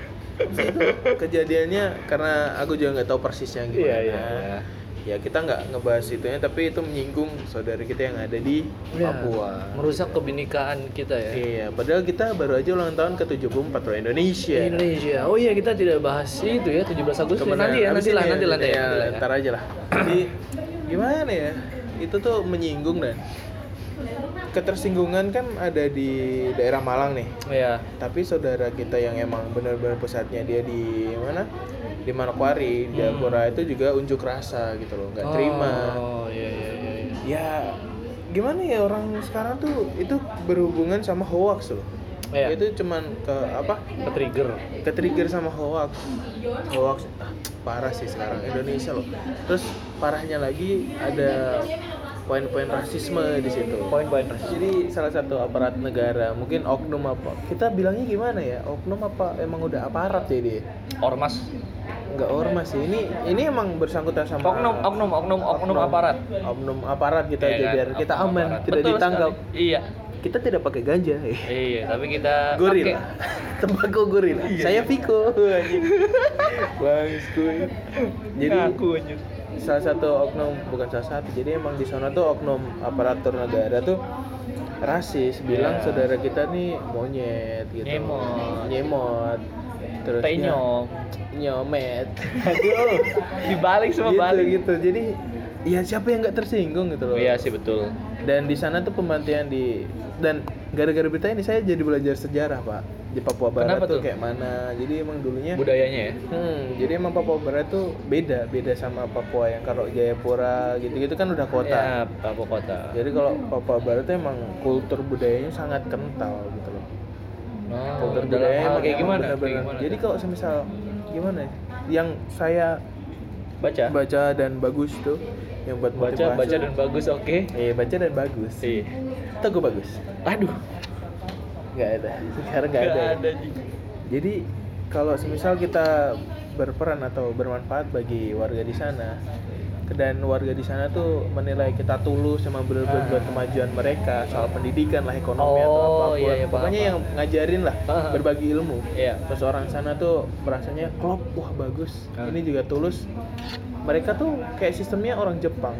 S2: kejadiannya karena aku juga nggak tahu persisnya gimana.
S1: Iya, iya.
S2: Ya kita nggak ngebahas itunya tapi itu menyinggung saudara kita yang ada di
S1: Ya,
S2: Papua.
S1: Merusak kebinikaan kita ya.
S2: Iya, padahal kita baru aja ulang tahun ke-74 loh Indonesia.
S1: Indonesia. Oh iya kita tidak bahas itu ya 17 Agustus
S2: Kebenaran.
S1: nanti ya
S2: Abis
S1: nanti lah
S2: ini
S1: nanti lah nanti
S2: ya,
S1: ya. nanti lah.
S2: ntar aja lah. Jadi gimana ya? Itu tuh menyinggung dan ketersinggungan kan ada di daerah Malang nih.
S1: Iya.
S2: tapi saudara kita yang emang benar-benar pusatnya dia di mana di Manokwari di
S1: Hmm.
S2: Jayapura itu juga unjuk rasa gitu loh nggak terima
S1: Oh iya iya iya. iya.
S2: ya gimana ya orang sekarang tuh itu berhubungan sama hoax loh
S1: Iya.
S2: itu cuman ke apa
S1: Ke trigger.
S2: ke trigger sama hoax hoax ah, parah sih sekarang Indonesia loh terus parahnya lagi ada poin-poin rasisme di situ
S1: Poin-poin rasisme.
S2: jadi salah satu aparat negara mungkin oknum apa kita bilangnya gimana ya oknum apa emang udah aparat ya dia
S1: Ormas.
S2: nggak ormas sih ini ini emang bersangkutan sama
S1: Oknum, oknum, oknum, oknum aparat.
S2: oknum aparat kita
S1: Iya
S2: aja
S1: kan?
S2: biar kita
S1: Oknum
S2: aman
S1: aparat.
S2: tidak
S1: Betul
S2: ditangkap
S1: sekali. Iya.
S2: kita tidak pakai ganja eh.
S1: Iya, tapi kita
S2: gorila
S1: pakai.
S2: tembakau gorila
S1: Iya,
S2: saya
S1: iya.
S2: Viko anjing. Bagus, kuy. jadi
S1: Ngaku, anjir.
S2: salah satu oknum bukan salah satu jadi emang di sana tuh oknum aparatur negara tuh rasis bilang
S1: Iya.
S2: saudara kita nih monyet gitu
S1: Nyemot.
S2: nyemot terus
S1: Tenyok.
S2: nyomet
S1: Aduh, dibalik semua
S2: gitu
S1: balik.
S2: gitu jadi ya siapa yang nggak tersinggung gitu loh
S1: Iya sih betul.
S2: dan di sana tuh pembantian di dan gara-gara berita ini saya jadi belajar sejarah pak di Papua Barat
S1: Kenapa
S2: tuh,
S1: tuh?
S2: kayak mana jadi emang dulunya
S1: Budayanya ya.
S2: Hmm, jadi emang Papua Barat tuh beda, beda sama Papua yang kalau Jayapura gitu-gitu kan udah kota.
S1: Ya, Papua kota.
S2: Jadi kalau Papua Barat tuh emang kultur budayanya sangat kental gitu loh.
S1: Oh,
S2: Kultur
S1: dalam
S2: budayanya
S1: hal
S2: emang
S1: kayak gimana? Kayak
S2: bener-bener.
S1: gimana
S2: Jadi
S1: tuh?
S2: kalau semisal gimana ya? Yang saya
S1: baca,
S2: baca dan bagus tuh yang buat
S1: baca,
S2: motivasi.
S1: baca dan bagus, oke.
S2: Iya, baca dan bagus.
S1: Iya.
S2: Atau gue bagus?
S1: Aduh,
S2: Nggak ada. Sekarang nggak ada. ya.
S1: Nggak ada Ji.
S2: Jadi kalau semisal kita berperan atau bermanfaat bagi warga di sana, dan warga di sana tuh menilai kita tulus sama bener-bener
S1: Ah.
S2: buat kemajuan mereka soal pendidikan lah
S1: Oh,
S2: ekonomi atau apapun
S1: iya, iya, paham,
S2: pokoknya
S1: paham.
S2: yang ngajarin lah
S1: Ah.
S2: berbagi ilmu
S1: Iya.
S2: terus orang sana tuh merasanya klop wah bagus
S1: Ah.
S2: ini juga tulus mereka tuh kayak sistemnya orang Jepang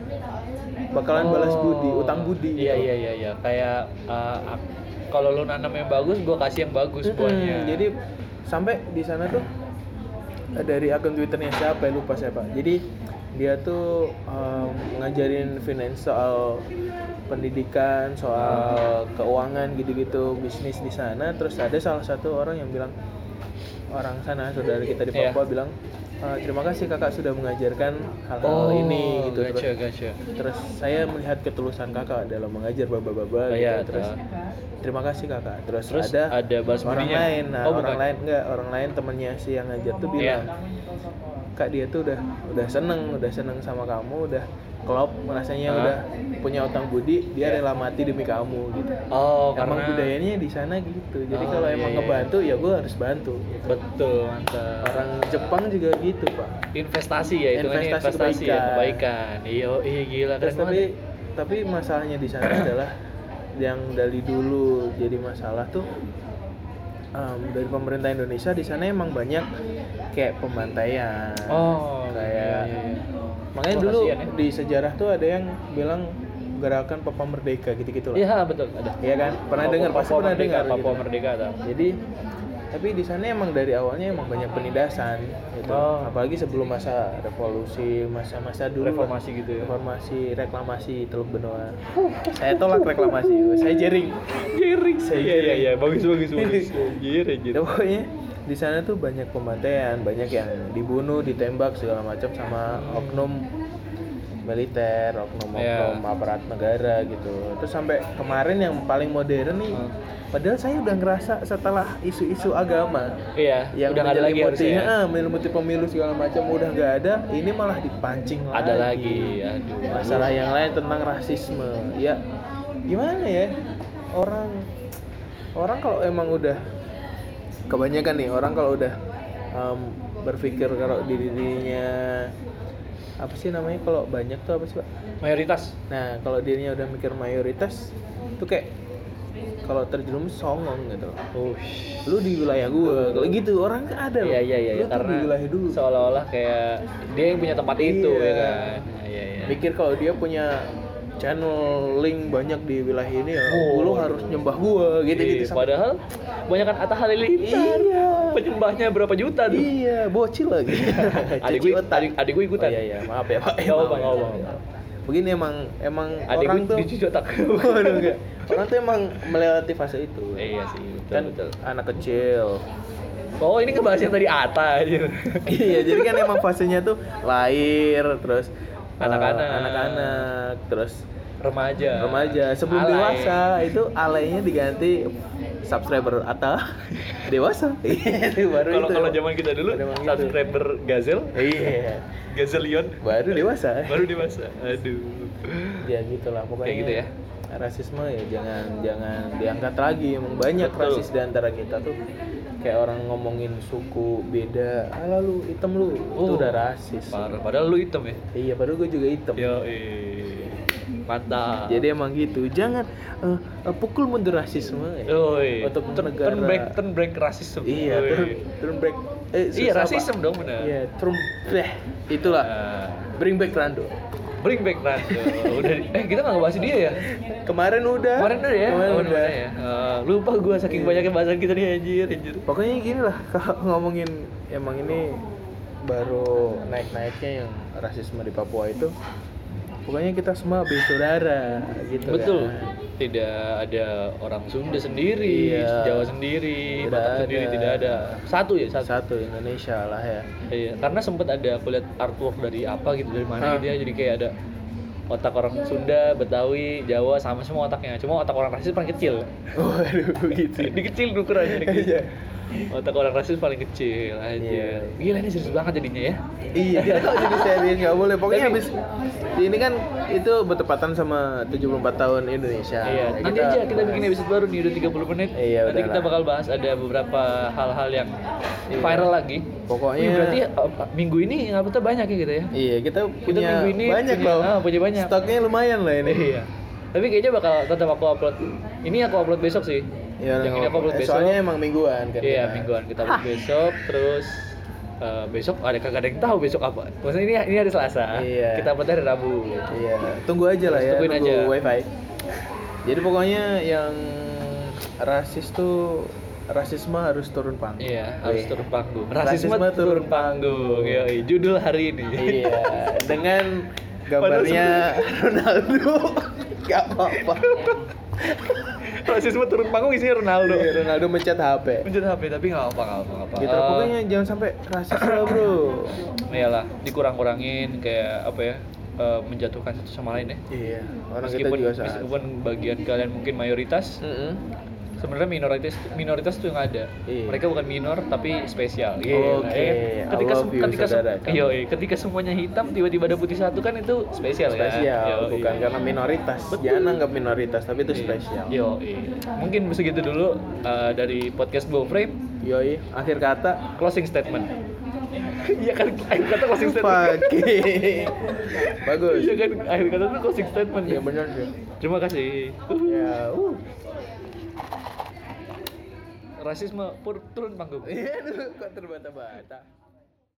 S1: Oh.
S2: bakalan balas budi utang budi
S1: Iya
S2: gitu.
S1: iya iya iya. Kayak eh, ak- kalau lu nanam yang bagus, gua kasih yang bagus
S2: Mm-mm.
S1: buahnya.
S2: Jadi sampai di sana tuh eh, dari akun Twitternya siapa ya lupa siapa. Jadi dia tuh em, ngajarin finance soal pendidikan, soal keuangan gitu-gitu, bisnis di sana. Terus ada salah satu orang yang bilang orang sana saudara kita di
S1: Iya.
S2: Papua bilang "Eh, terima kasih kakak sudah mengajarkan hal-hal
S1: oh
S2: ini gitu
S1: Gacha
S2: terus,
S1: gacha.
S2: terus saya melihat ketulusan kakak dalam mengajar
S1: Oh,
S2: baba-baba
S1: iya,
S2: gitu terus
S1: tahu.
S2: terima kasih kakak terus,
S1: Terus
S2: ada
S1: ada balas
S2: orang
S1: budinya?
S2: lain nah,
S1: Oh,
S2: orang
S1: bukan.
S2: lain enggak orang lain temennya si yang ngajar tuh
S1: Iya.
S2: bilang kak dia tuh udah udah seneng udah seneng sama kamu udah klop
S1: Hah?
S2: rasanya
S1: Iya.
S2: udah punya utang budi dia rela mati demi kamu gitu
S1: Oh,
S2: emang
S1: karena
S2: budayanya di sana gitu jadi
S1: Oh,
S2: kalau
S1: iya,
S2: emang
S1: iya.
S2: ngebantu ya gue harus bantu gitu.
S1: betul mantap.
S2: orang Jepang juga gitu pak
S1: investasi ya itu kan
S2: Investasi
S1: investasi ya
S2: kebaikan.
S1: kebaikan. Iya, iya gila
S2: Terus
S1: keren
S2: tapi
S1: banget. ya?
S2: tapi masalahnya di sana adalah yang dari dulu jadi masalah tuh em, dari pemerintah Indonesia di sana emang banyak kayak pembantaian.
S1: Oh,
S2: kayak
S1: iya, iya,
S2: makanya
S1: Oh,
S2: dulu
S1: kasihan ya.
S2: di sejarah tuh ada yang bilang gerakan Papa Merdeka gitu-gitu
S1: iya. Iya,
S2: lah.
S1: betul ada.
S2: Iya kan? Pernah dengar pasti pernah
S1: merdeka,
S2: dengar.
S1: Papua
S2: gitu.
S1: Merdeka atau?
S2: Jadi tapi di sana emang dari awalnya emang banyak penindasan gitu.
S1: Oh.
S2: Apalagi sebelum masa revolusi, masa-masa dulu lah
S1: Reformasi gitu ya.
S2: reformasi reklamasi Teluk Benoa. Saya tolak reklamasi, saya jering.
S1: Giring.
S2: Saya
S1: Iya iya iya, bagus bagus bagus.
S2: Giring.
S1: Giring
S2: Gitu.
S1: gitu.
S2: Pokoknya di sana tuh banyak pembantaian, banyak yang dibunuh, ditembak segala macam sama oknum militer, oknum-oknum
S1: Iya.
S2: aparat negara gitu. Terus sampai kemarin yang paling modern nih,
S1: Hmm.
S2: padahal saya udah ngerasa setelah isu-isu agama
S1: Iya,
S2: yang
S1: udah nggak ada lagi ya.
S2: menyelimuti-
S1: harusnya.
S2: ah, menyelimuti pemilu segala macam udah nggak ada, ini malah dipancing
S1: Ada lagi, aduh.
S2: masalah yang lain tentang rasisme ya gimana ya orang orang kalau emang udah kebanyakan nih orang kalau udah em, berpikir kalau di dirinya apa sih namanya kalau banyak tuh apa sih pak
S1: mayoritas.
S2: nah kalau dirinya udah mikir mayoritas tuh kayak kalau terjerumus songong gitu loh
S1: Oh,
S2: lu di wilayah gua kalau gitu orang ada loh
S1: Iya iya iya iya,
S2: lu tuh di
S1: karena
S2: wilayah dulu
S1: seolah-olah kayak dia yang punya tempat itu ya
S2: Iya.
S1: kan. Iya iya.
S2: mikir kalau dia punya channel link banyak di wilayah ini ya,
S1: Oh, aduh.
S2: lu harus nyembah gua gitu gitu
S1: Iya, padahal banyak kan Atta Halilintar.
S2: Iya.
S1: Penyembahnya berapa juta tuh?
S2: iya bocil lagi
S1: Adik gue, adik, adik gue ikutan.
S2: oh, iya iya maaf ya pak
S1: Nggak
S2: Maaf
S1: apa-apa,
S2: ya.
S1: nggak apa-apa.
S2: begini emang emang
S1: Adik
S2: orang
S1: gue
S2: tuh
S1: dicuci otak.
S2: Waduh, enggak. orang tuh emang melewati fase itu
S1: Eh, iya sih, betul,
S2: kan
S1: betul.
S2: anak kecil
S1: Oh, ini ngebahas yang tadi Atta aja.
S2: iya jadi kan emang fasenya tuh lahir terus eh,
S1: Anak-anak.
S2: anak-anak terus
S1: Remaja.
S2: remaja sebelum
S1: Alay.
S2: dewasa itu alaynya diganti subscriber atau dewasa Iya, Itu baru
S1: Kalau
S2: itu
S1: kalau zaman kita dulu
S2: Zaman gitu.
S1: subscriber Gazel,
S2: iya
S1: Gazelion
S2: baru dewasa
S1: baru dewasa. Aduh.
S2: ya gitulah pokoknya
S1: Kayak gitu ya.
S2: rasisme ya jangan jangan diangkat lagi emang banyak
S1: Betul.
S2: rasis di antara kita tuh kayak orang ngomongin suku beda ah lalu hitam lu itu
S1: Oh,
S2: udah rasis
S1: Parah. Padahal lu hitam ya.
S2: iya baru gue juga hitam
S1: Yo, eh. Mantap.
S2: jadi emang gitu jangan eh, eh, pukul mundur rasisme ya.
S1: Oi.
S2: Untuk
S1: turn,
S2: negara-
S1: turn back turn back rasisme.
S2: Iya,
S1: Oi.
S2: turun turun break.
S1: Iya,
S2: Eh, susah, Pak.
S1: rasisme dong benar.
S2: Iya, turun eh itulah.
S1: Nah,
S2: Bring back Rando.
S1: bring back Rando. udah eh kita nggak ngebahas dia ya.
S2: Kemarin udah.
S1: Kemarin udah ya.
S2: Iya. Kemarin
S1: Oh,
S2: udah. Iya.
S1: kemarin ya. Eh, lupa gua saking banyaknya bahasan kita nih anjir, anjir.
S2: Pokoknya gini lah kalau ngomongin emang ini baru naik-naiknya yang rasisme di Papua itu. Pokoknya kita semua bersaudara gitu
S1: Betul.
S2: kan.
S1: Tidak ada orang Sunda sendiri,
S2: Iya.
S1: Jawa sendiri,
S2: Tidak
S1: Batak sendiri
S2: ada.
S1: tidak ada. Satu ya, satu.
S2: kan. Satu Indonesia lah ya.
S1: Iya, karena sempet ada aku lihat artwork dari apa gitu dari
S2: Hah.
S1: mana gitu ya. Jadi kayak ada otak orang Sunda, Betawi, Jawa sama semua otaknya. Cuma otak orang rasis paling kecil.
S2: Waduh gitu.
S1: dikecil ukurannya dikecil.
S2: Iya.
S1: otak orang rasis paling kecil aja
S2: Iya.
S1: gila ini serius banget jadinya ya
S2: Iya, kita kok jadi serius nggak boleh.
S1: Tapi-
S2: Pokoknya habis ini kan itu bertepatan sama 74 tahun Indonesia.
S1: iya
S2: Ya,
S1: nanti aja kita bikin episode baru nih udah 30 menit
S2: Iya,
S1: nanti
S2: udah
S1: kita
S2: lah.
S1: bakal bahas ada beberapa hal-hal yang
S2: Iya.
S1: viral lagi
S2: Pokoknya-
S1: Wih, berarti uh, minggu ini uploadnya banyak ya gitu ya
S2: Iya, kita
S1: kita
S2: punya
S1: minggu ini
S2: banyak
S1: punya,
S2: loh.
S1: ah, punya banyak
S2: Stoknya lumayan lah ini.
S1: iya tapi kayaknya bakal tetap aku upload ini aku upload besok sih
S2: Iya,
S1: yang ini aku
S2: nggak
S1: upload
S2: apa-apa.
S1: besok
S2: Soalnya emang mingguan kan.
S1: Iya
S2: kita.
S1: mingguan kita upload besok terus eh, besok ada kagak ada yang tahu besok apa. Maksudnya ini ini hari Selasa.
S2: Iya.
S1: Kita upload hari Rabu.
S2: Iya, tunggu aja lah ya,
S1: Tungguin
S2: tunggu
S1: aja.
S2: wifi. Jadi pokoknya yang rasis tuh rasisme harus turun panggung.
S1: Iya, harus
S2: Iya.
S1: turun panggung.
S2: Rasisme
S1: Rasisme, turun
S2: turun
S1: panggung. Yoi, judul hari ini.
S2: Iya, dengan gambarnya Ronaldo. Gak apa-apa.
S1: Rasisme turun panggung isinya Ronaldo.
S2: Iya, Ronaldo mencet HP.
S1: Mencet HP tapi nggak apa nggak apa Eh, nggak apa.
S2: Kita
S1: Eh,
S2: pokoknya jangan sampai rasis lah, Bro.
S1: iyalah ya dikurang-kurangin kayak apa ya? eh, menjatuhkan satu sama lain ya.
S2: Iya, orang
S1: Meskipun,
S2: kita juga saat.
S1: meskipun bagian kalian mungkin mayoritas,
S2: Mm-mm.
S1: sebenarnya minoritas minoritas tuh yang ada
S2: Iya.
S1: mereka bukan minor tapi spesial
S2: Oke,
S1: kan?
S2: I
S1: ketika
S2: love
S1: sem-
S2: you,
S1: ketika sem-
S2: saudara kamu.
S1: yoi, ketika semuanya hitam tiba-tiba ada putih satu kan itu spesial, kan?
S2: Spesial,
S1: Yoi.
S2: bukan karena minoritas.
S1: Betul.
S2: Jangan anggap minoritas, tapi itu spesial.
S1: Yoi. Iya. mungkin segitu dulu uh, dari podcast Go Frame
S2: Yoi, iya. akhir kata
S1: closing statement iya kan akhir kata closing statement
S2: pakai. Bagus.
S1: iya kan akhir kata tuh closing statement
S2: Ya benar sih.
S1: terima kasih
S2: Ya, uh.
S1: rasisme pur- turun panggung
S2: Iya, aduh, kok terbata-bata.